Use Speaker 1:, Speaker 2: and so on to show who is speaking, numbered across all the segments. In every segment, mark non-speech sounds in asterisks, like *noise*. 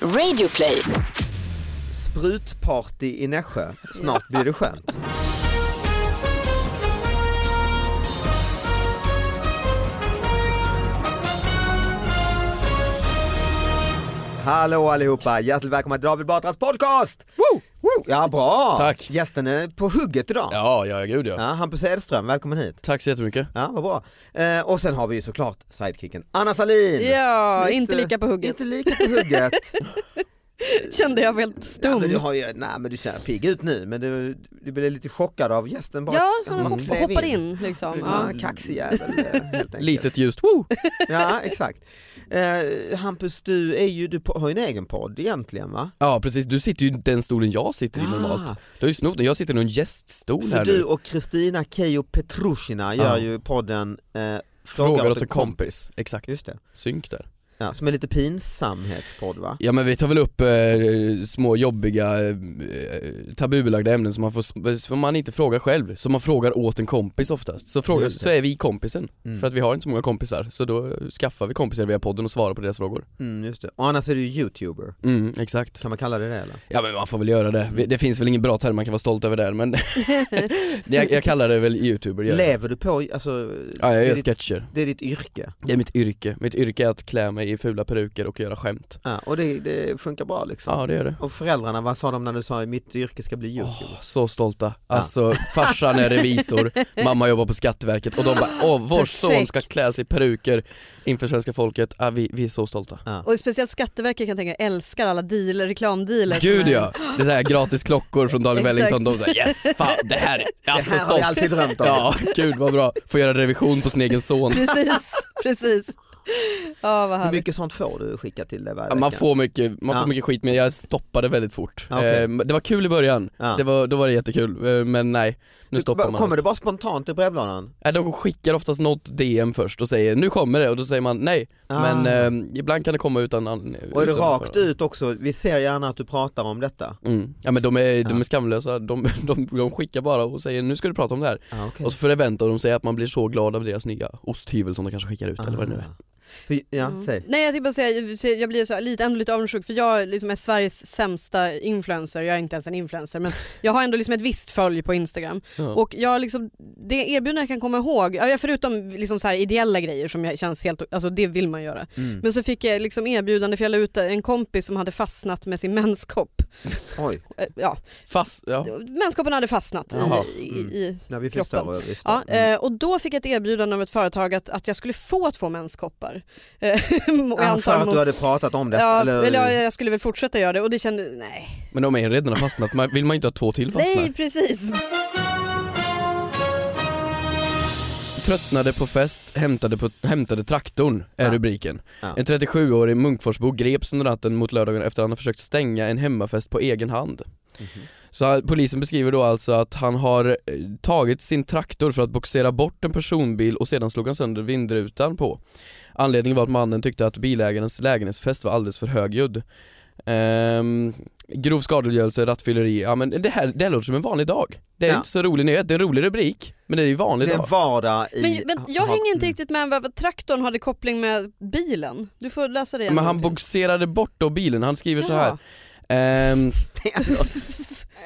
Speaker 1: Radioplay.
Speaker 2: Sprutparty i Nässjö. Snart blir det skönt. Hallå allihopa, hjärtligt välkomna till David Batras podcast!
Speaker 3: Woo!
Speaker 2: Woo! Ja, bra!
Speaker 3: Tack.
Speaker 2: Gästen är på hugget idag.
Speaker 3: Ja, ja gud ja.
Speaker 2: Ja, Hampus Edström, välkommen hit.
Speaker 3: Tack så jättemycket.
Speaker 2: Ja, vad bra. Eh, och sen har vi ju såklart sidekicken Anna Salin.
Speaker 4: Ja, inte lika på hugget.
Speaker 2: Inte lika på hugget.
Speaker 4: Kände jag mig helt
Speaker 2: Ja,
Speaker 4: stum.
Speaker 2: men du, har ju, nej, men du ser pigg ut nu men du, du blev lite chockad av gästen bara.
Speaker 4: Ja,
Speaker 2: att
Speaker 4: han hopp,
Speaker 2: klev
Speaker 4: hoppar in liksom.
Speaker 2: Ja,
Speaker 4: Ja.
Speaker 2: kaxig jävel eh,
Speaker 4: *laughs*
Speaker 2: helt enkelt.
Speaker 3: Litet ljust, woo!
Speaker 2: Ja exakt. Eh, Hampus du, är ju, du po- har ju en egen podd egentligen va?
Speaker 3: Ja precis, du sitter ju i den stolen jag sitter i
Speaker 2: Ja.
Speaker 3: normalt. Du har ju snott den, jag sitter i någon gäststol
Speaker 2: Ah. För
Speaker 3: här
Speaker 2: du
Speaker 3: nu.
Speaker 2: och Kristina Keijo Petrushina gör
Speaker 3: Ja.
Speaker 2: ju podden eh,
Speaker 3: Frågar åt en kompis, exakt.
Speaker 2: Just det.
Speaker 3: Synk där.
Speaker 2: Ja, som är lite pinsamhetspodd va?
Speaker 3: Ja men vi tar väl upp eh, små jobbiga eh, tabubelagda ämnen som man, får, som man inte frågar själv, som man frågar åt en kompis oftast. Så, frågar,
Speaker 2: Just det.
Speaker 3: så är vi kompisen,
Speaker 2: Mm.
Speaker 3: för att vi har inte så många kompisar. Så då skaffar vi kompisar via podden och svarar på deras frågor.
Speaker 2: Mm, just det. Och annars är du ju youtuber,
Speaker 3: Mm, exakt.
Speaker 2: kan man kalla det det eller?
Speaker 3: Ja men man får väl göra det, Vi- det finns väl ingen bra term man kan vara stolt över där men *laughs* jag, jag kallar det väl youtuber gör jag.
Speaker 2: Lever du på, alltså,
Speaker 3: Ja jag
Speaker 2: det, är
Speaker 3: gör
Speaker 2: ditt,
Speaker 3: sketcher,
Speaker 2: det är ditt yrke?
Speaker 3: det är mitt yrke, mitt yrke är att klä mig i fula peruker och göra skämt
Speaker 2: Ja, och det, det funkar bra liksom?
Speaker 3: Ja det gör det
Speaker 2: Och föräldrarna, vad sa de när du sa att mitt yrke ska bli YouTube?
Speaker 3: Åh, så stolta, alltså farsan
Speaker 2: *laughs*
Speaker 3: är revisor, mamma jobbar på Skatteverket och de bara åh vår son ska
Speaker 4: Perfekt.
Speaker 3: klä sig i peruker inför svenska folket, ah, vi, vi är så stolta
Speaker 4: Och speciellt Skatteverket kan jag tänka älskar alla dealer, reklamdealer. som
Speaker 3: Gud
Speaker 4: är-
Speaker 3: ja, det är såhär gratis klockor
Speaker 2: *laughs*
Speaker 3: från Daniel
Speaker 4: Exakt.
Speaker 3: Wellington, de säger yes, fan det här, är alltså
Speaker 2: det här har jag
Speaker 3: stolt
Speaker 2: alltid drömt om.
Speaker 3: Ja, gud vad bra, får göra revision på sin egen
Speaker 2: *laughs*
Speaker 3: son
Speaker 4: Precis, precis. Ja vad
Speaker 2: Hur
Speaker 4: härligt.
Speaker 2: mycket sånt får du skicka till dig varje
Speaker 3: Ja, man
Speaker 2: vecka?
Speaker 3: får mycket, man
Speaker 2: Ja.
Speaker 3: får mycket skit men jag stoppade väldigt fort.
Speaker 2: Ja, okej.
Speaker 3: Eh, men Det var kul i början,
Speaker 2: Ja.
Speaker 3: det var, då var det jättekul eh, men nej, nu stoppar man.
Speaker 2: Kommer
Speaker 3: allt.
Speaker 2: det bara spontant i brevlådan?
Speaker 3: Eh, De skickar oftast något DM först och säger nu kommer det och då säger man nej
Speaker 2: Ah.
Speaker 3: men eh, ibland kan det komma utan an-
Speaker 2: Och är det
Speaker 3: utan
Speaker 2: rakt
Speaker 3: för-
Speaker 2: ut också? Vi ser gärna att du pratar om detta.
Speaker 3: Mm. Ja men de är, de är skamlösa, de, *laughs* de, de skickar bara och säger nu ska du prata om det här
Speaker 2: Ah, okay.
Speaker 3: och så förväntar de sig att man blir så glad av deras nya osthyvel som de kanske skickar ut eller vad det
Speaker 2: Ah.
Speaker 3: nu är.
Speaker 2: För, ja,
Speaker 4: Mm.
Speaker 2: säg.
Speaker 4: Nej jag tänkte bara säga, jag blir så här, lite, ändå lite avundsjuk för jag liksom är Sveriges sämsta influencer, jag är inte ens en influencer men jag har ändå liksom ett visst följ på Instagram
Speaker 3: Ja.
Speaker 4: och jag liksom, det erbjudande jag kan komma ihåg, ja, förutom liksom så här ideella grejer som jag känns helt, alltså det vill man göra
Speaker 2: Mm.
Speaker 4: Men så fick jag liksom erbjudande för jag la ut en kompis som hade fastnat med sin menskopp.
Speaker 2: Oj,
Speaker 4: Eh, Ja,
Speaker 3: Fast, ja.
Speaker 4: menskoppen hade fastnat
Speaker 3: Jaha,
Speaker 4: i, i,
Speaker 2: Mm.
Speaker 4: i
Speaker 2: när vi
Speaker 4: Kroppen.
Speaker 2: förstör överdrifter.
Speaker 4: Ja, eh, och då fick jag ett erbjudande av ett företag att, att jag skulle få två menskoppar. Eh, *laughs* och jag
Speaker 2: Ah,
Speaker 4: antar
Speaker 2: för att
Speaker 4: mot-
Speaker 2: du hade pratat om detta?
Speaker 4: ja,
Speaker 2: eller,
Speaker 4: eller... jag, jag skulle väl fortsätta göra det och det kände, nej.
Speaker 3: Men de är redan har fastnat, Man- vill man ju inte ha två till fastna?
Speaker 4: Nej precis.
Speaker 3: Tröttnade på fest, hämtade, på, hämtade traktorn är
Speaker 2: Ja.
Speaker 3: rubriken.
Speaker 2: Ja.
Speaker 3: En 37-årig Munkforsbo greps under natten mot lördagen efter att han har försökt stänga en hemmafest på egen hand. Så han- polisen beskriver då alltså att han har eh, tagit sin traktor för att boxera bort en personbil och sedan slog han sönder vindrutan på. Anledningen var att mannen tyckte att bilägarens lägenhetsfest var alldeles för högljudd. Ehm, grov skadegörelse, rattfylleri, ja men det här, det här låter som en vanlig dag. Det är
Speaker 2: Ja.
Speaker 3: inte så rolig nyhet, det är en rolig rubrik, men det är ju vanlig
Speaker 2: det är
Speaker 3: dag.
Speaker 2: en vardag i...
Speaker 4: Men, men jag
Speaker 2: ha-
Speaker 4: hänger inte
Speaker 2: mm.
Speaker 4: riktigt med vad vad traktorn hade koppling med bilen. Du får läsa det. igen.
Speaker 3: Men han boxerade bort då bilen, han skriver så här.
Speaker 4: Jaha.
Speaker 3: Ehm,
Speaker 2: Det är *laughs* ändå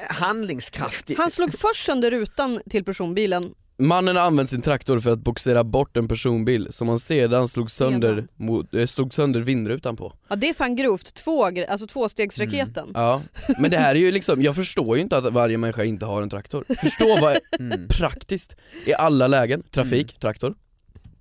Speaker 2: Handlingskraftigt.
Speaker 4: Han slog först sönder rutan till personbilen.
Speaker 3: mannen har använt sin traktor för att boxera bort en personbil som han sedan slog sönder,
Speaker 4: Sedan.
Speaker 3: mot, eh, slog sönder vindrutan på.
Speaker 4: Ja, det är fan grovt. Två, gre- alltså tvåstegsraketen.
Speaker 2: Mm.
Speaker 3: Ja. Men det här är ju liksom, jag förstår ju inte att varje människa inte har en traktor. Förstå vad
Speaker 2: Mm.
Speaker 3: praktiskt i alla lägen, trafik, traktor.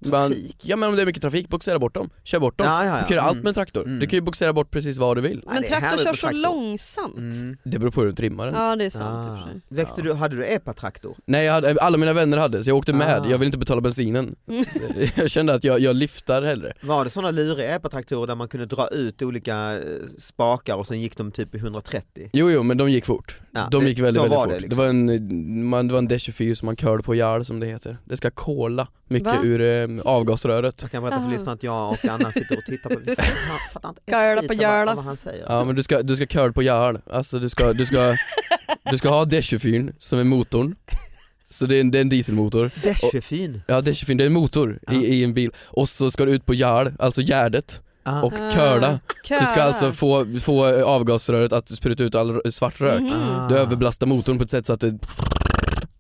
Speaker 3: Man,
Speaker 2: Trafik.
Speaker 3: ja men om det är mycket trafik, boxera bort dem, kör bort dem.
Speaker 2: Ja, ja, ja.
Speaker 3: Du kan göra allt
Speaker 2: Mm.
Speaker 3: med en traktor,
Speaker 2: Mm.
Speaker 3: du kan ju boxera bort precis vad du vill.
Speaker 2: Ja,
Speaker 4: Men
Speaker 2: det är härligt
Speaker 4: traktor kör
Speaker 2: med
Speaker 4: så långsamt.
Speaker 2: Mm.
Speaker 3: Det beror på hur du trimmar den.
Speaker 4: Ja det är sant i och
Speaker 2: Ah.
Speaker 4: för sig.
Speaker 2: Växte du, hade du epatraktor?
Speaker 3: Nej, jag hade, alla mina vänner hade så jag åkte med,
Speaker 2: Ah. Mm.
Speaker 3: jag ville inte
Speaker 2: *laughs*
Speaker 3: betala bensinen. Så jag kände att jag, jag lyftar hellre.
Speaker 2: Var det sådana luriga epatraktorer där man kunde dra ut olika eh, spakar och sen gick de typ i 130?
Speaker 3: Jo, jo men de gick fort.
Speaker 2: Ja,
Speaker 3: de
Speaker 2: det-
Speaker 3: gick väldigt,
Speaker 2: så
Speaker 3: väldigt
Speaker 2: var
Speaker 3: fort.
Speaker 2: det
Speaker 3: Det,
Speaker 2: liksom.
Speaker 3: var en, man, det var en D24 som man körde på ihjäl som det heter. Det ska kola mycket
Speaker 4: Va?
Speaker 3: ur eh, avgasröret.
Speaker 2: Jag kan berätta för
Speaker 4: Aha.
Speaker 2: lyssnarna att jag och Anna sitter och tittar på,
Speaker 4: *laughs*
Speaker 2: vi fattar, fattar inte ett
Speaker 4: Göla
Speaker 2: skit
Speaker 4: på
Speaker 2: av vad-
Speaker 4: göla.
Speaker 2: av vad han säger.
Speaker 3: Ja men du ska, du ska curl på ihjäl, alltså du ska,
Speaker 2: *laughs*
Speaker 3: du ska, du ska ha D24 som är motorn. Så det är en, det är en dieselmotor.
Speaker 2: Deshefin.
Speaker 3: Ja D24 det är en motor
Speaker 2: Ja.
Speaker 3: i, i en bil. Och så ska du ut på ihjäl, alltså gärdet.
Speaker 2: Ah.
Speaker 3: och
Speaker 4: Ah,
Speaker 3: curla. Du ska
Speaker 4: curla.
Speaker 3: alltså få, få avgasröret att spruta ut all r- svart rök.
Speaker 4: Mhm.
Speaker 2: Ah.
Speaker 3: Du överbelastar motorn på ett sätt så att det,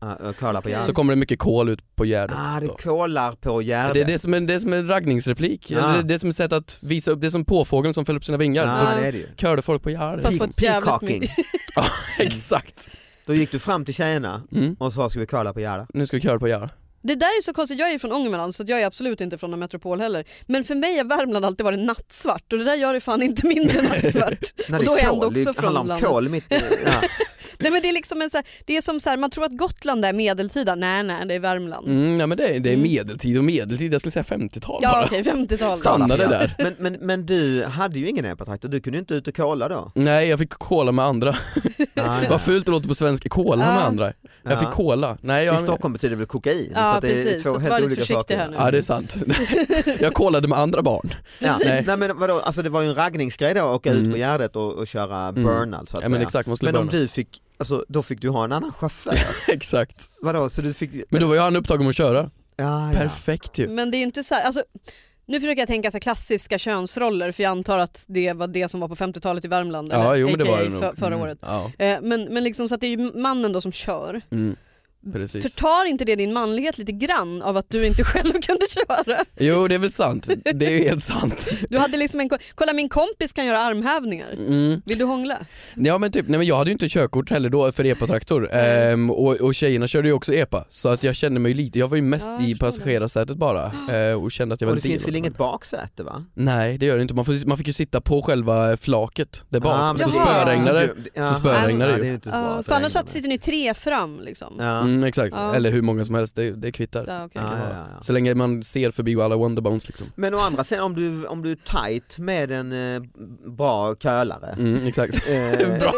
Speaker 2: Ah, kolar på
Speaker 4: Okej.
Speaker 3: så
Speaker 2: hjärnan.
Speaker 3: kommer det mycket kol ut på gärdet.
Speaker 2: Ah, det
Speaker 3: då.
Speaker 2: kolar på hjärnan.
Speaker 3: det, är det, som är, det är som en raggningsreplik,
Speaker 2: Ah.
Speaker 3: Eller det, det är som ett sätt att visa upp, det är som påfågeln som fäller upp sina vingar.
Speaker 2: ah, det är det ju.
Speaker 3: Då körde folk på gärdet.
Speaker 4: Fast så
Speaker 2: Pe-
Speaker 4: jävligt
Speaker 2: Peacocking.
Speaker 3: *laughs* Exakt.
Speaker 2: Då gick du fram till tjejerna
Speaker 3: Mm.
Speaker 2: och sa ska vi kolla på hjärnan?
Speaker 3: Nu ska vi köra på gärdet.
Speaker 4: Det där är så konstigt, jag är från Ångermanland så att jag är absolut inte från en metropol heller. Men för mig har Värmland alltid varit nattsvart och det där gör det fan inte
Speaker 3: *laughs*
Speaker 4: mindre nattsvart.
Speaker 2: Nej,
Speaker 4: Och då är jag
Speaker 2: kol.
Speaker 4: ändå också
Speaker 2: det handlar
Speaker 4: från
Speaker 2: om kol mitt ja.
Speaker 4: Nej, men det är liksom en så här, det är som så här, man tror att Gotland är medeltida, nej nej det är Värmland.
Speaker 3: Mm, nej, men det, är- det är
Speaker 4: Mm.
Speaker 3: medeltid och medeltid, jag skulle säga 50-tal
Speaker 4: Ja
Speaker 3: bara.
Speaker 4: okej, 50-tal.
Speaker 3: Stanna. Stannade där.
Speaker 2: Men, men, men du hade ju ingen epatraktor, du kunde ju inte ut och kola då?
Speaker 3: Nej jag fick kola med andra.
Speaker 2: Ah, *laughs*
Speaker 3: Vad fult det låter på svenska, kola med
Speaker 4: Ja.
Speaker 3: andra. Jag fick
Speaker 2: Ja.
Speaker 3: kola. Nej, jag,
Speaker 2: I Stockholm betyder det väl kokain?
Speaker 4: Ja,
Speaker 2: så att det är
Speaker 4: precis.
Speaker 2: två
Speaker 4: Så att
Speaker 2: helt
Speaker 4: var lite
Speaker 2: olika
Speaker 4: försiktig
Speaker 2: saker.
Speaker 4: här nu.
Speaker 3: Ja det är sant. *laughs* jag kolade med andra barn.
Speaker 2: Ja.
Speaker 3: Precis.
Speaker 2: Nej men vadå, alltså det var ju en raggningsgrej då att åka
Speaker 3: Mm.
Speaker 2: ut på Gärdet och, och köra
Speaker 3: Mm.
Speaker 2: burn alltså. Att
Speaker 3: Ja, men
Speaker 2: säga.
Speaker 3: exakt, man skulle
Speaker 2: men om
Speaker 3: börja.
Speaker 2: du fick, alltså, då fick du ha en annan chaufför?
Speaker 3: *laughs* Exakt.
Speaker 2: vadå, så du fick...
Speaker 3: Men då var ju han upptagen med att köra.
Speaker 2: ja, ja.
Speaker 3: Perfekt ju.
Speaker 4: Men det är ju inte så här, alltså, nu försöker jag tänka så här klassiska könsroller för jag antar att det var det som var på 50-talet i Värmland,
Speaker 3: Ja
Speaker 4: eller
Speaker 3: jo men det
Speaker 4: aka,
Speaker 3: var det nog.
Speaker 4: för, förra
Speaker 3: Mm.
Speaker 4: året.
Speaker 3: Ja,
Speaker 4: Eh, Men, men liksom så att det är ju mannen då som kör.
Speaker 3: mm. Precis.
Speaker 4: Förtar inte det din manlighet lite grann av att du inte *laughs* själv kunde köra?
Speaker 3: Jo det är väl sant, det är ju helt sant.
Speaker 4: Du hade liksom en, ko- kolla min kompis kan göra armhävningar.
Speaker 3: Mm.
Speaker 4: Vill du hångla?
Speaker 3: Ja men typ, nej men jag hade ju inte körkort heller då för epatraktor ehm, och, och tjejerna körde ju också epa så att jag kände mig lite, jag var ju mest
Speaker 4: Ja, jag
Speaker 3: i
Speaker 4: förstår det.
Speaker 3: passagerarsätet bara eh, och kände att jag var
Speaker 2: Och det
Speaker 3: lite
Speaker 2: finns
Speaker 3: illamående.
Speaker 2: väl inget baksäte va?
Speaker 3: Nej det gör det inte, man, får, man fick ju sitta på själva flaket där bak
Speaker 2: Ah, men
Speaker 3: så
Speaker 2: det är ju
Speaker 3: spöregnade det.
Speaker 2: dumt. Jaha.
Speaker 3: spöregnar det
Speaker 2: Ja,
Speaker 3: ju.
Speaker 2: det. är inte så bra
Speaker 4: Ja,
Speaker 2: att
Speaker 4: för annars
Speaker 2: regnar.
Speaker 4: satt, sitter ni tre fram liksom. Ja.
Speaker 2: Ja.
Speaker 3: Mm, exakt,
Speaker 4: Ja.
Speaker 3: eller hur många som helst, det, det kvittar.
Speaker 4: okej.
Speaker 3: Ah,
Speaker 2: Ja, ja, ja.
Speaker 3: Så länge man ser förbi alla Wonderbones
Speaker 2: *laughs*
Speaker 3: liksom.
Speaker 2: Men å andra sidan om du, om du är tight med en eh, bra kölare
Speaker 3: *laughs* Mm, exakt.
Speaker 2: eh,
Speaker 3: Bra.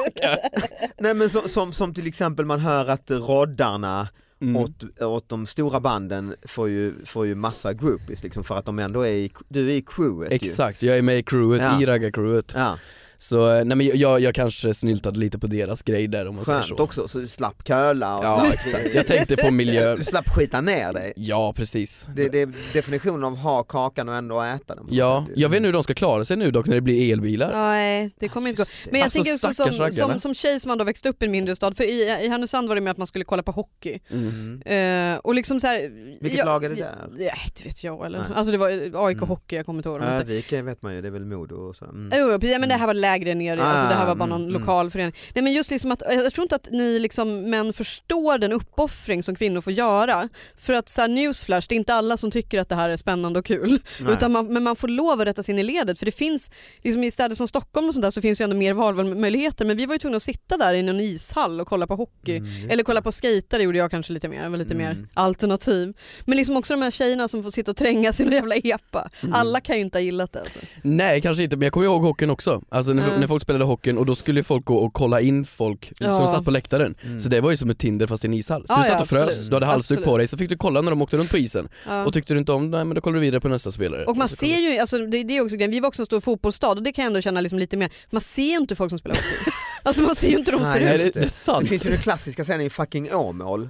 Speaker 2: Nej men som, som, som till exempel man hör att roddarna
Speaker 3: Mm.
Speaker 2: åt, åt de stora banden får ju, får ju massa groupies liksom för att de ändå är i, du är i crewet ju.
Speaker 3: Exakt, jag är med i crewet,
Speaker 2: Ja.
Speaker 3: i raggarcrewet.
Speaker 2: Ja,
Speaker 3: Så eh, nej, men jag, jag kanske snyltade lite på deras grej där om man säger
Speaker 2: skönt
Speaker 3: så.
Speaker 2: också, så du slapp köla och
Speaker 3: Ja
Speaker 2: *laughs* slapp,
Speaker 3: exakt, jag tänkte
Speaker 2: *laughs*
Speaker 3: på miljö.
Speaker 2: du slapp skita ner dig.
Speaker 3: Ja precis.
Speaker 2: Det, det är definitionen av ha kakan och ändå äta den. på
Speaker 3: Ja,
Speaker 2: något sätt ju.
Speaker 3: jag vet inte hur de ska klara sig nu dock när det blir elbilar.
Speaker 4: Nej, det kommer inte gå.
Speaker 2: Just det.
Speaker 4: Men jag
Speaker 3: Alltså,
Speaker 4: tänker också
Speaker 3: stackars
Speaker 4: som,
Speaker 3: raggarna.
Speaker 4: som, som tjej som ändå växt upp i en mindre stad, för i, i Härnösand var det med att man skulle kolla på hockey.
Speaker 2: Mm.
Speaker 4: Eh, och liksom så här,
Speaker 2: Vilket
Speaker 4: jag-
Speaker 2: lag är det där?
Speaker 4: Nej, det vet jag eller?
Speaker 2: Nej.
Speaker 4: Alltså det var AIK
Speaker 2: Mm.
Speaker 4: hockey, jag kommer inte ihåg vad de hette.
Speaker 2: Övik vet man ju, det är väl Modo och så. Mm.
Speaker 4: Jo, jo, precis. men det här var lägre ner,
Speaker 2: Ah,
Speaker 4: alltså det här var bara
Speaker 2: mm,
Speaker 4: någon
Speaker 2: mm.
Speaker 4: lokal förening. Nej, men just liksom att, jag tror inte att ni liksom, män förstår den uppoffring som kvinnor får göra. För att så här, newsflash, det är inte alla som tycker att det här är spännande och kul.
Speaker 2: *laughs* Nej.
Speaker 4: Utan man, men man får lov att rätta sig in i ledet för det finns, liksom i städer som Stockholm och sånt där så finns ju ändå mer valmöjligheter men vi var ju tvungna att sitta där i någon ishall och kolla på hockey.
Speaker 2: Mm, just
Speaker 4: Eller kolla på skejtare gjorde jag kanske lite mer, jag var lite
Speaker 2: Mm.
Speaker 4: mer alternativ. Men liksom också de här tjejerna som får sitta och tränga sina jävla epa.
Speaker 2: Mm.
Speaker 4: Alla kan ju inte ha gillat det. Alltså.
Speaker 3: Nej kanske inte men jag kommer ihåg hockeyn också. Alltså när,
Speaker 4: Mm.
Speaker 3: när folk spelade hockeyn och då skulle ju folk gå och kolla in folk som
Speaker 4: Ja.
Speaker 3: satt på läktaren.
Speaker 2: Mm.
Speaker 3: Så det var ju som ett Tinder fast i en ishall. Så
Speaker 4: Ja,
Speaker 3: du satt
Speaker 4: ja,
Speaker 3: och frös,
Speaker 4: absolut.
Speaker 3: du hade halsduk på
Speaker 4: Absolut.
Speaker 3: dig så fick du kolla när de åkte runt på isen.
Speaker 4: Ja.
Speaker 3: Och tyckte du inte om nej men då kollar du vidare på nästa spelare.
Speaker 4: Och man
Speaker 3: så kollar
Speaker 4: ser ju, alltså, det, det är också grejen, vi var också en stor fotbollsstad och det kan jag ändå känna liksom lite mer, man ser ju inte folk som spelar hockey. alltså man ser ju inte hur de
Speaker 2: Nej,
Speaker 4: ser
Speaker 3: du.
Speaker 4: ut.
Speaker 3: Är
Speaker 2: just
Speaker 3: det, det är
Speaker 2: Det
Speaker 3: sant.
Speaker 2: finns ju den klassiska scenen i fucking Åmål.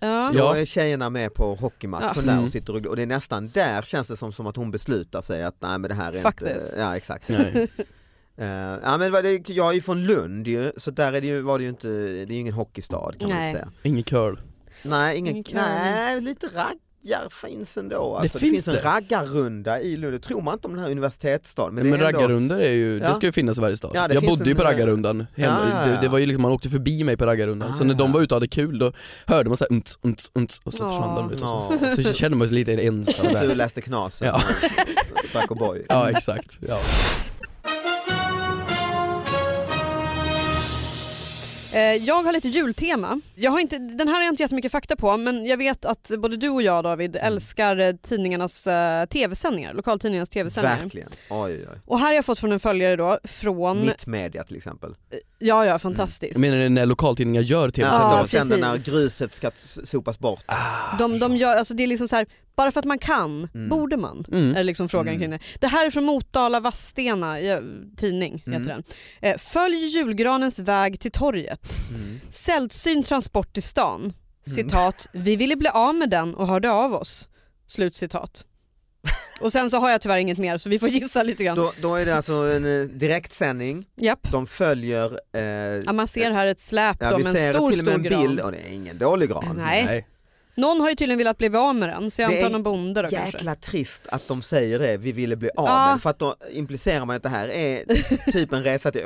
Speaker 4: Ja.
Speaker 2: Då
Speaker 3: Ja.
Speaker 2: är tjejerna med på hockeymatchen
Speaker 3: Ja. Mm.
Speaker 2: där och sitter och, och det är nästan där känns det som, som att hon beslutar sig att nej men det här är
Speaker 4: Fuck
Speaker 2: inte,
Speaker 4: this.
Speaker 2: ja exakt.
Speaker 3: Nej.
Speaker 2: Eh, ja, men vad det, jag är ju från Lund ju, så där är det ju, var det ju inte, det är ju ingen hockeystad kan man
Speaker 4: Nej.
Speaker 2: ju säga. *laughs*
Speaker 3: Ingen curl.
Speaker 2: Nej, ingen,
Speaker 4: Ingen curling.
Speaker 2: nej lite raggar finns ändå. Alltså, det, finns
Speaker 3: finns det.
Speaker 2: en raggarrunda i Lund, det tror man inte om den här universitetsstaden. Men,
Speaker 3: Men,
Speaker 2: det är ändå,
Speaker 3: raggarrundor är ju,
Speaker 2: Ja.
Speaker 3: det ska ju finnas i varje stad.
Speaker 2: Ja, det
Speaker 3: jag
Speaker 2: finns
Speaker 3: bodde ju
Speaker 2: en-
Speaker 3: på raggarrundan. Hemma.
Speaker 2: Ja, ja, ja.
Speaker 3: Det, det var ju liksom, man åkte förbi mig på raggarrundan.
Speaker 2: Ah,
Speaker 3: så när de
Speaker 2: ja.
Speaker 3: var ute och hade kul då hörde man såhär unt, unt, unt och så försvann de ut. Och så.
Speaker 2: Ja,
Speaker 3: så kände man sig lite ensam
Speaker 2: du *laughs*
Speaker 3: där.
Speaker 2: läste Knasen
Speaker 3: Ja.
Speaker 2: och drack O'boy.
Speaker 3: Ja exakt. Ja.
Speaker 4: Eh, Jag har lite jultema. Jag har inte, den här har jag inte jättemycket fakta på men jag vet att både du och jag David älskar eh, tidningarnas eh, tv-sändningar, lokaltidningarnas tv-sändningar.
Speaker 2: Verkligen, oj oj.
Speaker 4: Och här har jag fått från en följare då
Speaker 2: oj.
Speaker 4: från,
Speaker 2: Mitt media till exempel.
Speaker 4: ja ja fantastiskt.
Speaker 3: Jag menar det är när lokaltidningar gör
Speaker 2: Ja,
Speaker 3: tv-sändningar.
Speaker 4: Ja,
Speaker 2: och sen
Speaker 4: precis.
Speaker 2: när gruset ska s- sopas bort.
Speaker 3: Ah,
Speaker 4: De, de gör, alltså det är liksom så här, bara för att man kan,
Speaker 2: Ah, Mm.
Speaker 4: borde man?
Speaker 3: Mm.
Speaker 4: Är liksom frågan
Speaker 2: Mm.
Speaker 4: kring det. det här är från Motala Vassstena eh, tidning.
Speaker 2: Mm.
Speaker 4: Heter den. Eh, Följ julgranens väg till torget.
Speaker 2: Mm.
Speaker 4: Sällsynt transport till stan.
Speaker 2: *laughs*
Speaker 4: Citat, vi ville bli av med den och hörde av oss. Slut citat. Och sen så har jag tyvärr inget mer så vi får gissa lite grann.
Speaker 2: Då, då är det alltså en eh, direktsändning,
Speaker 4: Japp.
Speaker 2: de följer... Eh,
Speaker 4: Ja, man ser här ett släp
Speaker 2: ja,
Speaker 4: då
Speaker 2: vi
Speaker 4: med en
Speaker 2: ser
Speaker 4: stor,
Speaker 2: till och med
Speaker 4: stor
Speaker 2: en bild,
Speaker 4: gran.
Speaker 2: och det är ingen dålig gran.
Speaker 4: Nej. Någon har ju tydligen velat bli av med den så jag
Speaker 2: Det
Speaker 4: antar
Speaker 2: är
Speaker 4: någon bonde då kanske.
Speaker 2: Jäkla trist att de säger det, vi ville bli av
Speaker 4: Ja.
Speaker 2: med, för att då implicerar man att det här är typ en resa till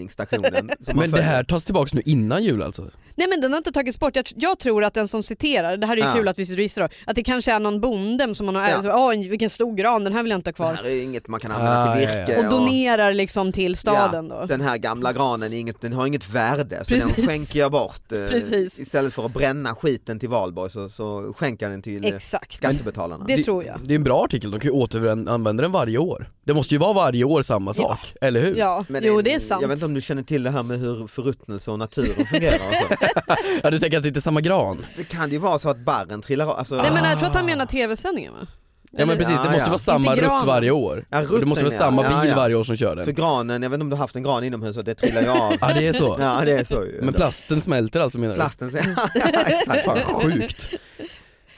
Speaker 2: återvinningsstationen. Som man
Speaker 3: Men det
Speaker 2: följer.
Speaker 3: här tas tillbaks nu innan jul alltså?
Speaker 4: Nej men den har inte tagits bort. Jag, tr- jag tror att den som citerar, det här är ju
Speaker 2: Ja.
Speaker 4: kul att vi sitter och gissar då, att det kanske är någon bonde som man har,
Speaker 2: Ja.
Speaker 4: ja. åh vilken stor gran, den här vill jag inte ha
Speaker 2: det
Speaker 4: kvar.
Speaker 2: här är inget man kan använda
Speaker 3: Ah,
Speaker 2: till
Speaker 3: ja, ja.
Speaker 2: virke.
Speaker 4: Och donerar liksom till staden
Speaker 2: ja,
Speaker 4: då.
Speaker 2: Den här gamla granen är inget, den har inget värde så den
Speaker 4: Precis.
Speaker 2: skänker jag bort. eh,
Speaker 4: Precis.
Speaker 2: Istället för att bränna skiten till valborg så, så skänker jag den till eh,
Speaker 4: Exakt.
Speaker 2: skattebetalarna.
Speaker 4: Det tror jag.
Speaker 3: Det är en bra artikel, de kan ju återanvända den varje år. Det måste ju vara varje år samma sak, eller hur?
Speaker 4: Ja,
Speaker 2: Men
Speaker 4: jo det är sant.
Speaker 2: Jag vet inte om du känner till det här med hur förruttnelse och naturen fungerar. och
Speaker 4: *laughs*
Speaker 2: så.
Speaker 3: Ja, du tänker att det inte är samma gran?
Speaker 2: Det kan ju vara så att barren trillar av. Alltså,
Speaker 4: Nej men jag tror att han menar tv-sändningen va?
Speaker 3: Ja men
Speaker 4: Eller-
Speaker 3: precis, det måste
Speaker 2: ja.
Speaker 3: vara samma
Speaker 4: Inte
Speaker 3: rutt
Speaker 4: granen.
Speaker 3: varje år.
Speaker 2: Ja,
Speaker 3: Och det måste vara
Speaker 2: rutten,
Speaker 3: samma
Speaker 2: ja. Ja,
Speaker 3: bil
Speaker 2: ja.
Speaker 3: varje år som kör
Speaker 2: För
Speaker 3: den.
Speaker 2: granen, jag vet inte om du har haft en gran inomhus och det trillar ju av.
Speaker 3: *laughs* Ja det är så.
Speaker 2: *laughs* Ja det är så ju.
Speaker 3: Men plasten smälter alltså menar du?
Speaker 2: Plasten
Speaker 4: *laughs*
Speaker 2: säger, ja, *laughs* exakt.
Speaker 3: Fan *laughs* sjukt.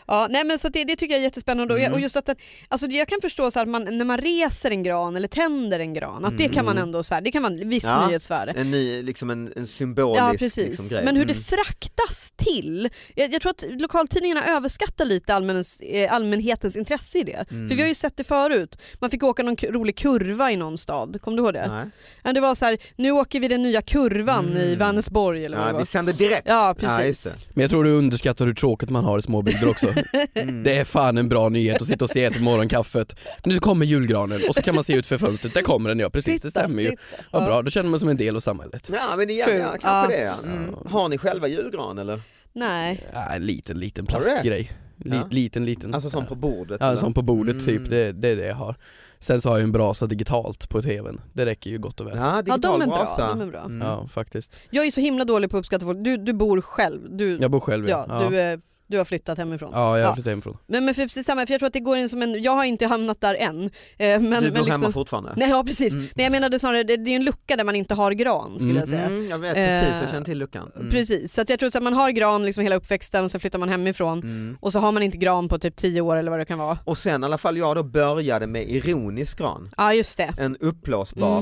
Speaker 4: Ja, nej men så att det, det tycker jag är jättespännande. Och jag- Och
Speaker 3: Mm.
Speaker 4: just att den, alltså jag kan förstå så här att man, när man reser en gran eller tänder en gran, att det kan man ändå så här, det kan man viss
Speaker 2: Mm. Ja.
Speaker 4: nyhetsvärde.
Speaker 2: En ny, liksom en, en symbolisk
Speaker 4: Ja precis,
Speaker 2: liksom, grej.
Speaker 4: men hur det
Speaker 2: Mm.
Speaker 4: fraktas till. Jag, jag tror att lokaltidningarna överskattar lite allmänens, eh, allmänhetens intresse i det. För
Speaker 2: Mm.
Speaker 4: vi har ju sett det förut. Man fick åka någon ku- rolig kurva i någon stad, kommer du ihåg det?
Speaker 2: Nej.
Speaker 4: Ja, det var så här, nu åker vi den nya kurvan i Vänersborg eller vad det
Speaker 2: Ja,
Speaker 4: var.
Speaker 2: vi sänder direkt.
Speaker 4: Ja
Speaker 2: Ja,
Speaker 4: precis.
Speaker 2: just det.
Speaker 3: Men jag tror du underskattar hur tråkigt man har i småbygder också.
Speaker 2: *laughs* Mm.
Speaker 3: Det är fan en bra nyhet att sitta och se ett morgonkaffet. Nu kommer julgranen och så kan man se ut för fönstret, där kommer den ja precis det stämmer ju. Vad bra, då känner man sig som en del av samhället.
Speaker 2: Ja men igen,
Speaker 4: True.
Speaker 2: ja, kanske
Speaker 4: Ja. Mm.
Speaker 2: det ja. Mm. Har ni själva julgran eller?
Speaker 4: Nej.
Speaker 3: Ja, en liten, liten
Speaker 2: Har du
Speaker 3: plastgrej. Li-
Speaker 2: Ja.
Speaker 3: Liten, liten.
Speaker 2: Alltså som på Mm. bordet?
Speaker 3: Ja,
Speaker 2: eller?
Speaker 3: en sån på bordet typ, det, det är det jag har. Sen så har jag ju en brasa digitalt på tvn, det räcker ju gott och väl.
Speaker 2: Ja,
Speaker 4: Ja,
Speaker 2: digital
Speaker 4: de är bra.
Speaker 2: brasa. Mm.
Speaker 4: De är bra.
Speaker 3: Ja faktiskt.
Speaker 4: Jag är så himla dålig på att uppskatta folk. Du, du bor själv. Du,
Speaker 3: Jag bor själv
Speaker 4: ja,
Speaker 3: ja.
Speaker 4: Du, eh, du har flyttat hemifrån.
Speaker 3: Ja, jag har
Speaker 4: Ja.
Speaker 3: flyttat hemifrån.
Speaker 4: Men, men för precis samma, för jag tror att det går in som en, jag har inte hamnat där än. Eh, Men, men
Speaker 2: du bor
Speaker 4: liksom,
Speaker 2: hemma fortfarande?
Speaker 4: *laughs* Nej ja precis, nej, jag menade snarare det, det är en lucka där man inte har gran skulle
Speaker 3: Mm.
Speaker 4: jag säga.
Speaker 2: Mm. Mm, jag vet precis, jag
Speaker 4: Eh,
Speaker 2: känner till luckan. Mm.
Speaker 4: Precis, så att jag tror att man har gran liksom hela uppväxten och så flyttar man hemifrån
Speaker 2: Mm.
Speaker 4: och så har man inte gran på typ 10 år eller vad det kan vara.
Speaker 2: Och sen i alla fall jag då började med ironisk gran,
Speaker 4: Ja just det.
Speaker 2: en uppblåsbar.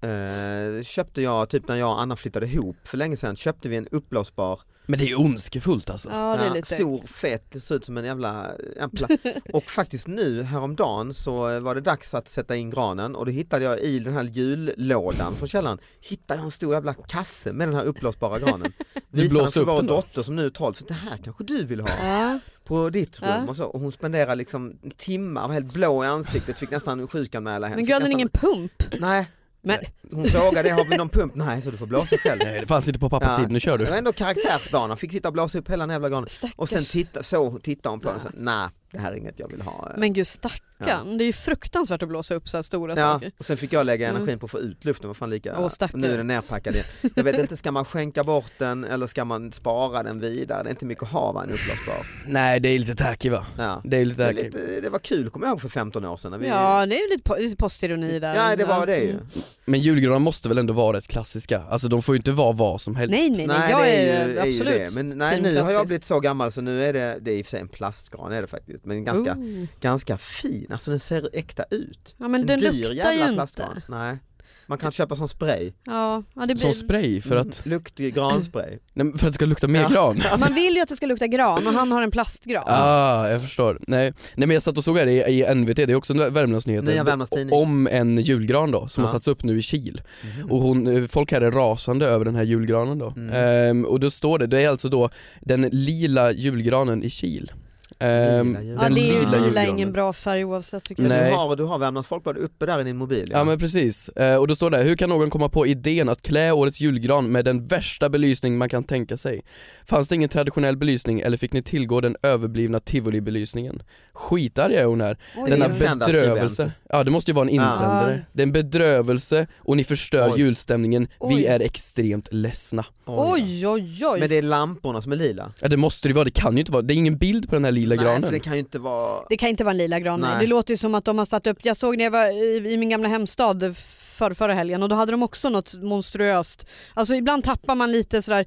Speaker 4: Mm.
Speaker 2: Eh, köpte jag typ när jag och Anna flyttade ihop för länge sedan köpte vi en uppblåsbar
Speaker 3: Men det är ju ondskefullt alltså.
Speaker 4: Ja, det är
Speaker 2: ja,
Speaker 4: lite.
Speaker 2: stor fet, det ser ut som en jävla en pla-
Speaker 4: *laughs*
Speaker 2: och faktiskt nu häromdagen så var det dags att sätta in granen och då hittade jag i den här jullådan från källaren hittade jag en stor jävla kasse med den här uppblåsbara granen. Visade
Speaker 3: *laughs*
Speaker 2: den
Speaker 3: blåste
Speaker 2: för
Speaker 3: upp
Speaker 2: vår
Speaker 3: den då?
Speaker 2: dotter som nu är 12, så det här kanske du vill ha
Speaker 4: Ja.
Speaker 2: på ditt rum
Speaker 4: Ja.
Speaker 2: och så. Och hon spenderade liksom timmar, var helt blå i ansiktet, fick nästan sjukanmäla henne.
Speaker 4: Men
Speaker 2: Fick
Speaker 4: gud hade ni
Speaker 2: nästan-
Speaker 4: ingen pump?
Speaker 2: Nej,
Speaker 4: Men,
Speaker 2: hon frågade har vi någon pump? Nej, så du får blåsa
Speaker 3: *laughs*
Speaker 2: själv.
Speaker 3: Nej det fanns inte på pappas
Speaker 2: Ja.
Speaker 3: tid, nu kör
Speaker 2: Det
Speaker 3: du.
Speaker 2: var ändå karaktärsdagen, han fick sitta och blåsa upp hela den jävla granen.
Speaker 4: Stackars.
Speaker 2: Och sen titta, så tittade hon på den och sa nej det här är inget jag vill ha.
Speaker 4: men gud stackarn, det är ju fruktansvärt att blåsa upp så här stora
Speaker 2: Ja,
Speaker 4: saker.
Speaker 2: och sen fick jag lägga
Speaker 4: Mm.
Speaker 2: energin på att få ut luften, vad fan lika,
Speaker 4: Åh, stackare.
Speaker 2: nu är den nerpackad igen. Jag vet inte, ska man skänka bort den eller ska man spara den vidare? Det är inte mycket att ha va, en uppblåsbar.
Speaker 3: Nej det är lite tacky va?
Speaker 2: Ja.
Speaker 3: Det är
Speaker 2: Det,
Speaker 3: lite
Speaker 2: är
Speaker 3: tacky.
Speaker 2: lite, det var kul kommer jag ihåg för 15 år sedan. När vi,
Speaker 4: Ja det är ju lite po- lite postironi där. Mm.
Speaker 2: ja, det var det ju.
Speaker 3: Men julgranar måste väl ändå vara rätt klassiska? Alltså de får ju inte vara vad som helst.
Speaker 4: Nej nej nej,
Speaker 2: Nej,
Speaker 4: jag
Speaker 2: det
Speaker 4: är,
Speaker 2: ju- är ju
Speaker 4: absolut.
Speaker 2: det. Men nej,
Speaker 4: team
Speaker 2: nu har jag
Speaker 4: klassiskt.
Speaker 2: blivit så gammal så nu är det, det är i och för sig en plastgran är det faktiskt, men ganska,
Speaker 4: Oh.
Speaker 2: ganska fin, alltså den ser äkta ut.
Speaker 4: Ja men
Speaker 2: en
Speaker 4: den
Speaker 2: dyr
Speaker 4: luktar
Speaker 2: jävla
Speaker 4: ju
Speaker 2: plastgran.
Speaker 4: inte.
Speaker 2: Nej. Man kan köpa som spray,
Speaker 4: Ja, ja, det blir...
Speaker 3: Som spray för att,
Speaker 2: Mm, lukt granspray.
Speaker 3: nej, men för att det ska lukta mer
Speaker 2: Ja.
Speaker 3: gran.
Speaker 4: *laughs* Man vill ju att det ska lukta gran och han har en plastgran.
Speaker 3: Ah, jag förstår. Nej. nej men jag satt och såg här i, i NVT, det är också en Värmlandsnyheter,
Speaker 2: Nya Värmlands Tidning. Mm.
Speaker 3: om en julgran då som
Speaker 2: Ja.
Speaker 3: har satts upp nu i Kil. Och hon, eh, folk här är rasande över den här julgranen då.
Speaker 2: Mm.
Speaker 3: Ehm, och då står det, det är alltså då den lila julgranen i Kil. Ehm,
Speaker 2: Lila julgran.
Speaker 4: Ja, det är ju
Speaker 2: lila
Speaker 4: lila ingen bra färg oavsett tycker
Speaker 2: Men
Speaker 4: jag.
Speaker 3: Nej.
Speaker 2: Du har, du har Värmlands Folkblad uppe där i din mobil.
Speaker 3: Ja men precis, Eh, och då står det här, hur kan någon komma på idén att klä årets julgran med den värsta belysning man kan tänka sig? Fanns det ingen traditionell belysning eller fick ni tillgå den överblivna tivolibelysningen? Skitarg är hon här,
Speaker 4: Oj,
Speaker 3: denna
Speaker 4: oj, oj.
Speaker 2: Insändarskribent.
Speaker 3: bedrövelse. Ja det måste ju vara en
Speaker 2: Ja.
Speaker 3: insändare.
Speaker 4: Ja.
Speaker 3: Det är en bedrövelse och ni förstör
Speaker 2: Oj.
Speaker 3: julstämningen,
Speaker 4: Oj.
Speaker 3: vi är extremt ledsna.
Speaker 4: Oj oj oj.
Speaker 2: Men det är lamporna som är lila.
Speaker 3: Ja det måste det ju vara, det kan ju inte vara, det är ingen bild på den här lila
Speaker 2: Nej, för
Speaker 3: granen.
Speaker 2: det kan ju inte vara...
Speaker 4: Det kan inte vara en lila gran.
Speaker 2: Nej.
Speaker 4: Det låter ju som att de har satt upp, jag såg när jag var i, i min gamla hemstad för, förra helgen och då hade de också något monstruöst. Alltså ibland tappar man lite sådär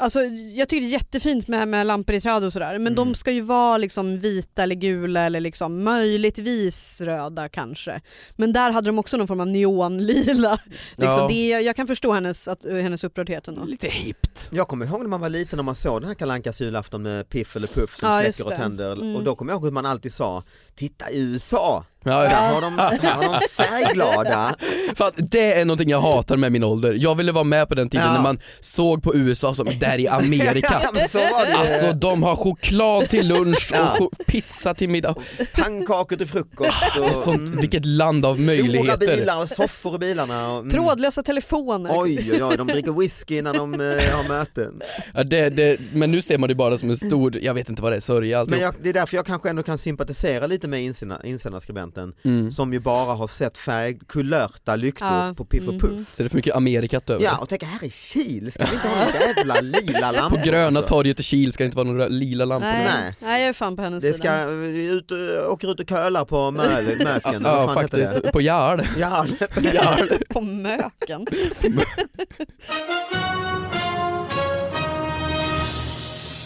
Speaker 4: Alltså, jag tycker det är jättefint med, med lampor i träd och sådär men de
Speaker 2: Mm.
Speaker 4: ska ju vara liksom vita eller gula eller liksom möjligtvis röda kanske. Men där hade de också någon form
Speaker 2: *laughs*
Speaker 4: av neonlila. Liksom,
Speaker 3: Ja.
Speaker 4: det, jag kan förstå hennes, att, eh, hennes upprördhet
Speaker 2: Mm.
Speaker 4: ändå.
Speaker 3: Lite hippt.
Speaker 2: Jag kommer ihåg när man var liten och man såg den här Kalle Ankas julafton med Piff eller Puff som
Speaker 4: Ja, just
Speaker 2: släcker och
Speaker 4: det.
Speaker 2: tänder
Speaker 4: Mm.
Speaker 2: och då kommer jag ihåg hur man alltid sa Titta USA,
Speaker 3: Ja, ja.
Speaker 2: där har
Speaker 3: *laughs*
Speaker 2: de, där har de färgglada.
Speaker 3: Fan, det är någonting jag hatar med min ålder. Jag ville vara med på den tiden
Speaker 2: Ja.
Speaker 3: när man såg på USA som där i Amerika.
Speaker 2: *laughs* Ja, men så var det.
Speaker 3: Alltså de har choklad till lunch
Speaker 2: Ja.
Speaker 3: och cho- pizza till middag.
Speaker 2: Pannkakor till frukost.
Speaker 3: Det är
Speaker 2: Och,
Speaker 3: sånt, vilket land av
Speaker 2: Stora
Speaker 3: möjligheter.
Speaker 2: bilar och soffor i bilarna. Och, mm.
Speaker 4: Trådlösa telefoner.
Speaker 2: Oj, oj, oj, de dricker whisky innan de eh, har
Speaker 3: *laughs*
Speaker 2: möten.
Speaker 3: Ja, det, det, men nu ser man det bara som en stor, jag vet inte vad det är, sörja
Speaker 2: Men
Speaker 3: alltihop.
Speaker 2: jag, det är därför jag kanske ändå kan sympatisera lite med insända- insändarskribenten
Speaker 3: Mm.
Speaker 2: som ju bara har sett färg, kulörta lyktor
Speaker 4: Ja.
Speaker 2: på Piff och
Speaker 4: Mhm.
Speaker 2: Puff.
Speaker 3: Så är det för mycket Amerikat över.
Speaker 2: Ja, och tänka här i Kil, ska vi inte ha några jävla lila lampor?
Speaker 3: *laughs* På gröna
Speaker 2: alltså?
Speaker 3: torget i Kil ska det inte vara några lila lampor.
Speaker 4: Nej.
Speaker 2: Nej.
Speaker 4: Nej. jag är fan på hennes
Speaker 2: Det
Speaker 4: sida.
Speaker 2: ska, vi ut, och- åker ut och kölar på Möl, Möken, eller vad
Speaker 3: Ja,
Speaker 2: fan heter det?
Speaker 3: faktiskt. På Jarl.
Speaker 2: *laughs* Ja, *laughs*
Speaker 4: på möken.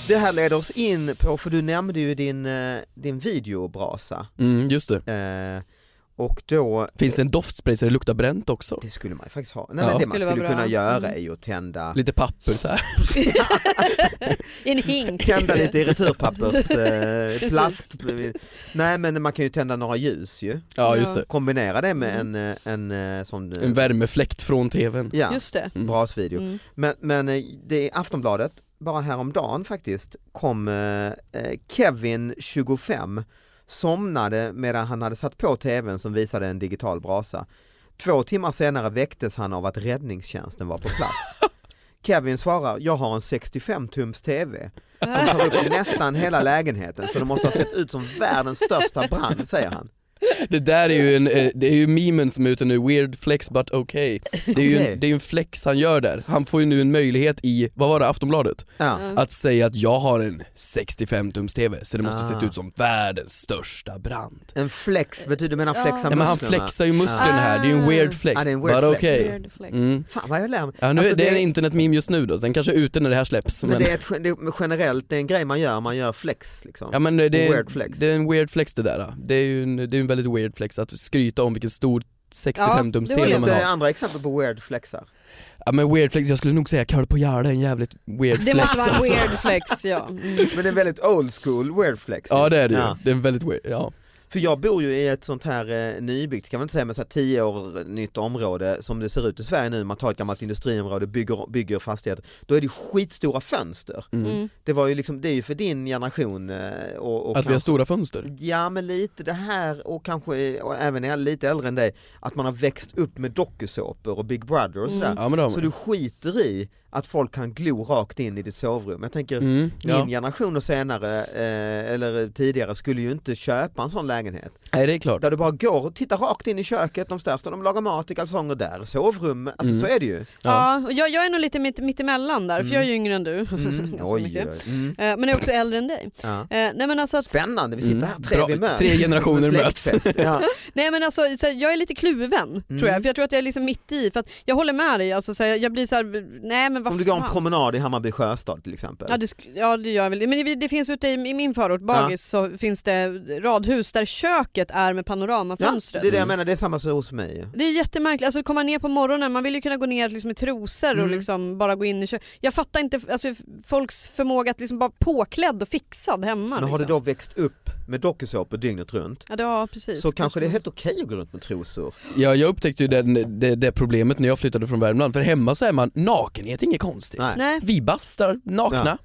Speaker 2: det här leder oss in på, för du nämnde ju din, eh, din videobrasa
Speaker 3: Mm, just det.
Speaker 2: eh, och då
Speaker 3: Finns det en doftspray så det luktar bränt också?
Speaker 2: Det skulle man ju faktiskt ha. Nej,
Speaker 3: Ja.
Speaker 2: men det man
Speaker 4: Skulle vara
Speaker 2: skulle
Speaker 4: bra.
Speaker 2: kunna göra
Speaker 4: Mm.
Speaker 2: är ju att tända,
Speaker 3: Lite papper så här.
Speaker 4: *laughs* I en hink.
Speaker 2: tända lite i returpappers eh,
Speaker 4: *laughs* Precis.
Speaker 2: plast. Nej men man kan ju tända några ljus ju.
Speaker 3: Ja,
Speaker 4: Ja.
Speaker 3: just det.
Speaker 2: Kombinera det med
Speaker 4: Mm.
Speaker 2: en, eh, en eh, sån eh,
Speaker 3: En värmefläkt från tvn.
Speaker 2: ja,
Speaker 4: Just det.
Speaker 3: Mm.
Speaker 2: brasvideo.
Speaker 4: Mm.
Speaker 2: Men, men eh, det är Aftonbladet, bara häromdagen faktiskt, kom eh, eh, Kevin 25 somnade medan han hade satt på tvn som visade en digital brasa. Två timmar senare väcktes han av att räddningstjänsten var på plats. Kevin svarar, jag har en 65 tums tv som tar upp nästan hela lägenheten så det måste ha sett ut som världens största brand säger han.
Speaker 3: Det där är ju, en, eh, det är ju memen som är ute nu, weird flex but okay. Det är ju
Speaker 2: Okej.
Speaker 3: en, det är ju en flex han gör där. Han får ju nu en möjlighet i, vad var det, Aftonbladet?
Speaker 2: Ja.
Speaker 4: Mm.
Speaker 3: Att säga att jag har en 65-tums-TV så det måste
Speaker 2: Ah.
Speaker 3: sett ut som världens största brand.
Speaker 2: En flex, betyder du menar
Speaker 4: Ja.
Speaker 2: flexa
Speaker 3: Ja, men han
Speaker 2: musklerna?
Speaker 3: flexar ju musklerna här, det är ju en weird flex
Speaker 2: alltså, Ah, det är en weird
Speaker 3: but
Speaker 2: flex.
Speaker 3: okay.
Speaker 4: Weird flex.
Speaker 3: Mm.
Speaker 2: Fan vad jag lär mig.
Speaker 3: Ja, nu,
Speaker 2: Alltså,
Speaker 3: det är
Speaker 2: det-
Speaker 3: en internetmeme just nu då, den kanske är ute när det här släpps.
Speaker 2: Men det är, ett, gen- det är generellt, det är en grej man gör, man gör flex liksom.
Speaker 3: Ja men det, det,
Speaker 2: Weird flex.
Speaker 3: det är en weird flex det där. då. Det är ju en, det är en väldigt weird flex att skryta om vilken stor 65 tums
Speaker 4: Ja, det var
Speaker 3: tv
Speaker 2: Finns
Speaker 3: man
Speaker 2: det
Speaker 3: har.
Speaker 2: andra exempel på weird flexar?
Speaker 3: Ja men weird flex, jag skulle nog säga Karl på Gärde är en jävligt weird
Speaker 4: Det
Speaker 3: flex
Speaker 4: måste vara en
Speaker 3: alltså.
Speaker 4: weird
Speaker 3: *laughs*
Speaker 4: flex ja. Mm.
Speaker 2: Men det är en väldigt old school weird flex.
Speaker 3: Ja det är det ju.
Speaker 2: Ja.
Speaker 3: Det är en väldigt weird, ja.
Speaker 2: För jag bor ju i ett sånt här eh, nybyggt, ska man inte säga, men så här 10 år nytt område som det ser ut i Sverige nu, man tar ett gammalt industriområde, bygger, bygger fastigheter, då är det skitstora fönster.
Speaker 3: Mm.
Speaker 4: Mm.
Speaker 2: Det, var ju liksom, det är ju för din generation eh, och, och
Speaker 3: Att vi har
Speaker 2: kanske-
Speaker 3: stora fönster.
Speaker 2: Ja men lite det här och kanske och även äl- lite äldre än dig, att man har växt upp med dokusåpor och Big Brother och sådär.
Speaker 3: Ja men det har
Speaker 2: Så
Speaker 3: man.
Speaker 2: du skiter i att folk kan glo rakt in i ditt sovrum. Jag tänker
Speaker 3: Mm,
Speaker 2: min
Speaker 3: ja.
Speaker 2: generation och senare eh, eller tidigare skulle ju inte köpa en sån lägenhet.
Speaker 3: Nej det är klart.
Speaker 2: Där du bara går och tittar rakt in i köket, de största, de lagar mat i kalsonger där, sovrum, alltså
Speaker 3: Mm.
Speaker 2: så är det
Speaker 3: *laughs*
Speaker 2: ju.
Speaker 4: Ja, och jag, jag är nog lite mitt, mitt emellan där för jag är ju yngre än du.
Speaker 2: Mm.
Speaker 4: *laughs* Ganska
Speaker 2: Oj,
Speaker 4: mycket.
Speaker 2: oj. Mm.
Speaker 4: Eh, Men jag är också äldre än dig.
Speaker 2: Ja.
Speaker 4: Eh, Nej men alltså att
Speaker 2: Spännande, vi sitter
Speaker 3: Mm.
Speaker 2: här tre,
Speaker 3: Bra,
Speaker 2: vi möts.
Speaker 3: tre generationer
Speaker 2: Som en släktfest.
Speaker 3: *laughs*
Speaker 2: Ja.
Speaker 4: Nej men alltså så här, jag är lite kluven
Speaker 2: Mm.
Speaker 4: tror jag för jag tror att jag är liksom mitt i för att jag håller med dig alltså så här, jag blir så här, nej men vad
Speaker 2: Om du går en
Speaker 4: fan.
Speaker 2: promenad i Hammarby sjöstad till exempel.
Speaker 4: Ja det, sk- ja det gör jag väl. Men det, det finns ute i, i min förort, Bagis, så finns det radhus där köket är med
Speaker 2: Ja,
Speaker 4: panoramafönstret.
Speaker 2: det är det
Speaker 4: det...
Speaker 2: jag
Speaker 3: Mm.
Speaker 2: menar, det är samma som hos mig.
Speaker 4: är jättemärkligt, alltså komma ner på morgonen, man vill ju kunna gå ner liksom i trosor och
Speaker 2: Mm.
Speaker 4: liksom bara gå in i köket. Jag fattar inte alltså, f- folks förmåga att liksom vara påklädd och fixad hemma.
Speaker 2: Men har du
Speaker 4: liksom.
Speaker 2: då växt upp med dokusåpor dygnet runt
Speaker 4: Ja, det, ja precis.
Speaker 2: så kanske det är helt okej att gå runt med trosor.
Speaker 3: Ja, jag upptäckte ju den, det, det problemet när jag flyttade från Värmland för hemma så är man nakenhet, är inget konstigt.
Speaker 2: Nej.
Speaker 4: Nej.
Speaker 3: Vi bastar nakna.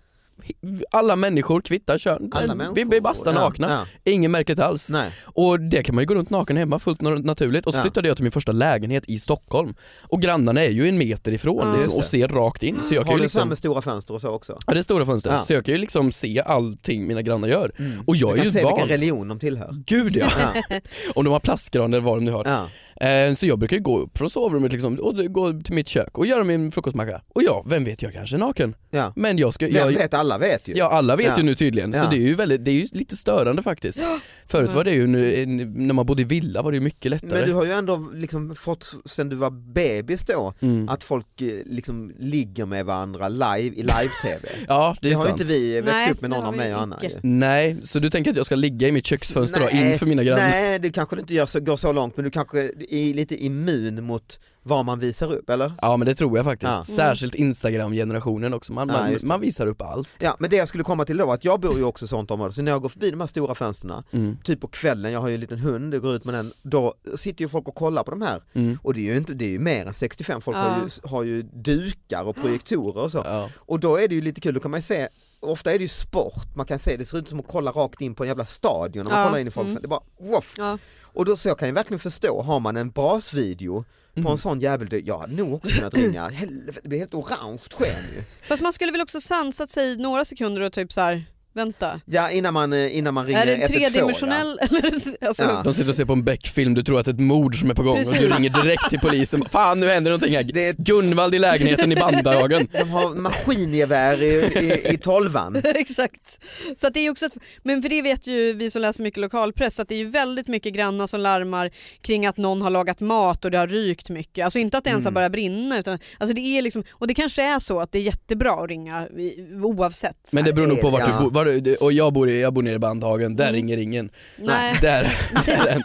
Speaker 3: Alla människor kvittar kön.
Speaker 2: Alla
Speaker 3: vi,
Speaker 2: människor.
Speaker 3: vi bastar
Speaker 2: Ja,
Speaker 3: nakna.
Speaker 2: ja.
Speaker 3: Inget märkligt alls.
Speaker 2: Nej.
Speaker 3: Och det kan man ju gå runt naken hemma fullt na- naturligt och så
Speaker 2: Ja.
Speaker 3: flyttade jag till min första lägenhet i Stockholm och grannarna är ju en meter ifrån
Speaker 4: Ja,
Speaker 3: liksom,
Speaker 2: just
Speaker 3: och
Speaker 2: det.
Speaker 3: ser rakt in så jag kan
Speaker 2: Har
Speaker 3: ju
Speaker 2: du
Speaker 3: liksom
Speaker 2: samma stora fönster och så också?
Speaker 3: Ja, det är stora fönster,
Speaker 2: Ja.
Speaker 3: så jag kan ju liksom se allting mina grannar gör.
Speaker 2: Mm.
Speaker 3: Och jag
Speaker 2: du
Speaker 3: är
Speaker 2: kan
Speaker 3: ju
Speaker 2: se
Speaker 3: van.
Speaker 2: vilken religion de tillhör.
Speaker 3: *laughs* Gud ja!
Speaker 2: Ja.
Speaker 3: Om de har plastgran eller vad de nu har.
Speaker 2: Ja.
Speaker 3: Eh, Så jag brukar ju gå upp från sovrummet liksom, och gå till mitt kök och göra min frukostmacka. Och ja, vem vet, jag kanske är naken.
Speaker 2: Ja.
Speaker 3: Men jag ska...
Speaker 2: Jag
Speaker 3: Jag,
Speaker 2: vet, alla vet ju.
Speaker 3: Ja alla vet
Speaker 2: Ja.
Speaker 3: ju nu tydligen, så
Speaker 2: Ja.
Speaker 3: det är ju, väldigt, det är ju lite störande faktiskt. Förut var det ju, nu, eh, när man bodde i villa var det ju mycket lättare.
Speaker 2: Men du har ju ändå liksom fått, sen du var bebis då,
Speaker 3: Mm.
Speaker 2: att folk eh, liksom ligger med varandra live i live-tv.
Speaker 3: Ja *laughs* det
Speaker 2: Det
Speaker 3: är
Speaker 2: har ju
Speaker 3: sant.
Speaker 2: inte vi växt
Speaker 4: Nej,
Speaker 2: upp med
Speaker 4: det
Speaker 2: någon
Speaker 4: har
Speaker 2: av
Speaker 4: vi
Speaker 2: mig och Anna
Speaker 4: icke.
Speaker 2: ju.
Speaker 3: Nej, så du tänker att jag ska ligga i mitt köksfönster då, inför mina grannar?
Speaker 2: Nej, det kanske du inte gör så, går så långt men du kanske är lite immun mot vad man visar upp, eller?
Speaker 3: Ja men det tror jag faktiskt,
Speaker 2: Ja.
Speaker 3: särskilt Instagram-generationen också, man,
Speaker 2: Ja,
Speaker 3: man,
Speaker 2: just det.
Speaker 3: man visar upp allt.
Speaker 2: Ja, men det jag skulle komma till då, att jag bor ju också i sånt område, så när jag går förbi de här stora fönstren,
Speaker 3: Mm.
Speaker 2: typ på kvällen, jag har ju en liten hund, jag går ut med den, då sitter ju folk och kollar på de här.
Speaker 3: Mm.
Speaker 2: Och det är ju, inte, det är ju mer än 65, folk
Speaker 4: Ja.
Speaker 2: har, ju, har ju dukar och projektorer och så.
Speaker 3: Ja.
Speaker 2: Och då är det ju lite kul, då kan man ju se, ofta är det ju sport, man kan se, det ser ut som att kolla rakt in på en jävla stadion när man
Speaker 4: Ja,
Speaker 2: kollar in i folk,
Speaker 4: mm.
Speaker 2: det är bara woff.
Speaker 4: Ja.
Speaker 2: Och då så jag kan ju verkligen förstå, har man en brasvideo på en sån jävel, det- jag hade nog också kunnat
Speaker 4: *laughs*
Speaker 2: ringa, helvete det blir helt orange sken ju.
Speaker 4: Fast man skulle väl också sansat sig i några sekunder och typ så här, vänta.
Speaker 2: Ja innan man, eh, innan man ringer
Speaker 4: Är det en
Speaker 2: 112,
Speaker 4: tredimensionell? *laughs* Eller, alltså,
Speaker 2: Ja.
Speaker 3: De sitter och ser på en Beck-film, du tror att det är ett mord som är på gång och du
Speaker 4: Precis.
Speaker 3: ringer direkt
Speaker 2: *laughs*
Speaker 3: till polisen. Fan nu händer någonting här,
Speaker 2: Det är-
Speaker 3: Gunvald i lägenheten i Bandhagen.
Speaker 2: Ja. De har maskingevär i, i, i tolvan.
Speaker 4: *laughs* Exakt. Så att det är också ett, men för det vet ju vi som läser mycket lokalpress att det är ju väldigt mycket grannar som larmar kring att någon har lagat mat och det har rykt mycket. Alltså inte att det ens
Speaker 3: Mm.
Speaker 4: har börjat brinna utan alltså det är liksom, och det kanske är så att det är jättebra att ringa i- oavsett.
Speaker 3: Men det beror nog på vart
Speaker 2: Ja. Mm.
Speaker 3: du bor, var du, och jag bor, i- jag bor nere i Bandhagen, där ringer ingen.
Speaker 4: Nej,
Speaker 3: Där,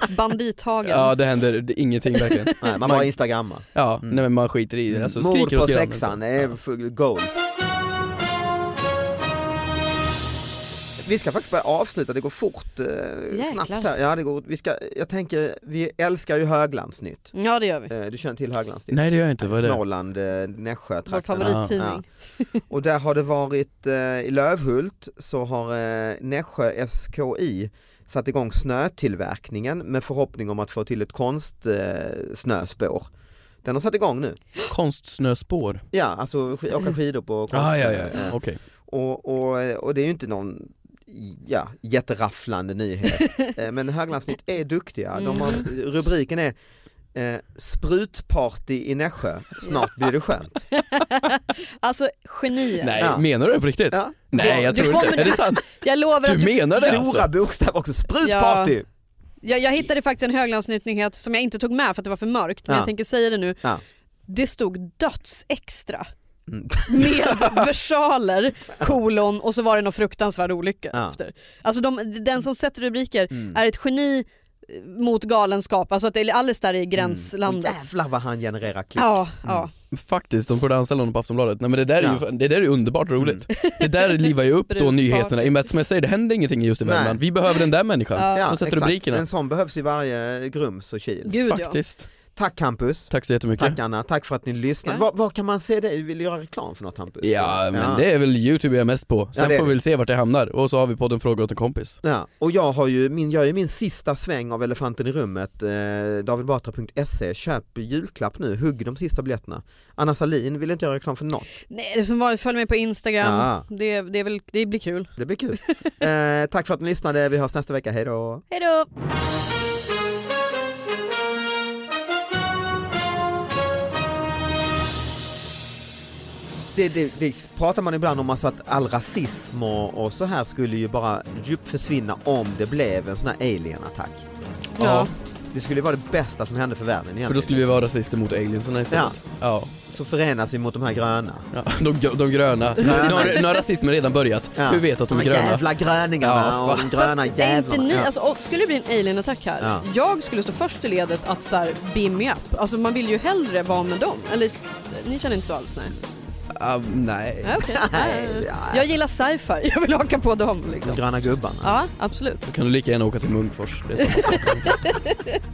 Speaker 4: *laughs* bandithagen.
Speaker 3: ja det händer det, ingenting verkligen.
Speaker 2: Nej, man
Speaker 3: Man-
Speaker 2: bara instagrammar.
Speaker 3: Ja, nej, men man skiter i det. Alltså,
Speaker 2: Mord
Speaker 3: skriker och
Speaker 2: på
Speaker 3: skramlar.
Speaker 2: sexan är för goals. Vi ska faktiskt börja avsluta, det går fort eh, snabbt här. Ja, det går, vi ska, jag tänker, vi älskar ju Höglandsnytt.
Speaker 4: Ja det gör vi.
Speaker 2: Eh, du känner till Höglandsnytt?
Speaker 3: Nej det gör jag inte, vad är det?
Speaker 2: Småland, eh, Nässjö
Speaker 4: Vår
Speaker 2: trakten.
Speaker 4: favorittidning.
Speaker 2: Och där har det varit, eh, i Lövhult så har eh, Nässjö SKI satt igång snötillverkningen med förhoppning om att få till ett konstsnöspår. Eh, snöspår. Den har satt igång nu.
Speaker 3: Konstsnöspår?
Speaker 2: Ja, alltså sk- åka skidor på konst.
Speaker 3: Ah, ja, ja, ja.
Speaker 2: Eh,
Speaker 3: okej.
Speaker 2: Och, och, och det är ju inte någon ja, jätterafflande nyhet. Eh, Men Höglandsnytt är duktiga. De har, rubriken är eh, Sprutparty i Nässjö, snart blir det
Speaker 3: *laughs*
Speaker 2: skönt.
Speaker 4: *laughs* Alltså genier.
Speaker 3: Nej,
Speaker 2: Ja.
Speaker 3: menar du det på riktigt?
Speaker 2: Ja.
Speaker 3: Nej jag
Speaker 4: Du
Speaker 3: tror inte,
Speaker 4: kommer-
Speaker 3: är
Speaker 4: *laughs*
Speaker 3: det sant?
Speaker 4: Jag lovar
Speaker 3: Du
Speaker 4: att du,
Speaker 3: menar det
Speaker 2: Stora
Speaker 3: alltså?
Speaker 2: bokstäver också, sprutparty!
Speaker 4: jag, jag hittade faktiskt en höglandsnytt-nyhet som jag inte tog med för att det var för mörkt men
Speaker 2: Ja.
Speaker 4: jag tänker säga det nu.
Speaker 2: Ja.
Speaker 4: Det stod dödsextra.
Speaker 2: Mm. *laughs*
Speaker 4: med versaler, kolon och så var det någon fruktansvärd olycka
Speaker 2: Ja. Mm.
Speaker 4: efter. Alltså de, den som sätter rubriker
Speaker 3: Mm.
Speaker 4: är ett geni eh, mot galenskap, alltså att det är alldeles där
Speaker 2: Mm.
Speaker 4: i gränslandet.
Speaker 2: Och jävlar vad han genererar klipp.
Speaker 4: Ja, ja.
Speaker 2: Mm.
Speaker 3: Alltså, Faktiskt, de borde anställa honom på Aftonbladet. Nej men det där är ju,
Speaker 2: Ja.
Speaker 3: fan- det där är underbart roligt. Det där livar ju upp då
Speaker 4: Sprutbart.
Speaker 3: nyheterna i och med att som jag säger det händer ingenting just i
Speaker 2: Nej.
Speaker 3: Värmland. Vi behöver den där
Speaker 4: Ja.
Speaker 3: människan
Speaker 2: Ja,
Speaker 3: som sätter
Speaker 2: exakt.
Speaker 3: rubrikerna.
Speaker 2: En sån behövs i varje Grums och Kil.
Speaker 4: Gud ja.
Speaker 3: Faktiskt.
Speaker 2: Tack Hampus,
Speaker 3: Tack så jättemycket.
Speaker 2: tack Anna, tack för att ni lyssnade.
Speaker 4: Ja.
Speaker 2: Var, var kan man se dig? Vill du göra reklam för något Hampus?
Speaker 3: Ja men det är väl Youtube jag är mest på. Sen
Speaker 2: det är
Speaker 3: får vi
Speaker 2: det.
Speaker 3: väl se vart det hamnar och så har vi podden Fråga åt en kompis.
Speaker 2: Ja, och jag har ju min, gör ju min sista sväng av elefanten i rummet, eh, davidbatra.se, köp julklapp nu, hugg de sista biljetterna. Anna Salin vill inte göra reklam för något,
Speaker 4: Nej, det är som vanligt, följ mig på Instagram.
Speaker 2: Ja.
Speaker 4: Det, det, är väl, det blir kul.
Speaker 2: det blir
Speaker 4: *laughs*
Speaker 2: kul. eh, tack för att ni lyssnade, vi hörs nästa vecka, hej då!
Speaker 4: Hej då!
Speaker 2: Det, det, det pratar man ibland om alltså att all rasism och, och så här skulle ju bara djupt försvinna om det blev en sån här alien-attack.
Speaker 4: Ja.
Speaker 3: Ja.
Speaker 2: Det skulle ju vara det bästa som hände för världen egentligen.
Speaker 3: För då skulle vi vara rasister mot aliensarna istället. Ja.
Speaker 2: Så förenas vi mot de här gröna.
Speaker 3: ja. *laughs* De, gr-
Speaker 2: *laughs*
Speaker 3: de gröna. Nu har, nu har rasismen redan börjat.
Speaker 2: Ja.
Speaker 3: Hur vet du att de är gröna?
Speaker 2: jävla gröningarna
Speaker 3: Ja,
Speaker 2: och de gröna
Speaker 4: Fast är inte
Speaker 2: jävlarna.
Speaker 4: ni,
Speaker 2: Ja.
Speaker 4: alltså, och, skulle det bli en alien-attack här,
Speaker 2: Ja.
Speaker 4: jag skulle stå först i ledet att så här, beam me up. Alltså man vill ju hellre vara med dem. Eller ni känner inte så alls? Nej.
Speaker 3: Ah, nej.
Speaker 4: Ja, okej.
Speaker 2: *laughs* Nej, ja.
Speaker 4: Jag gillar sci-fi, *laughs* jag vill haka på dem. Liksom.
Speaker 2: De gröna gubbarna.
Speaker 4: Ja, absolut.
Speaker 2: *laughs*
Speaker 3: Då kan du lika gärna åka till Munkfors. Det är samma sak.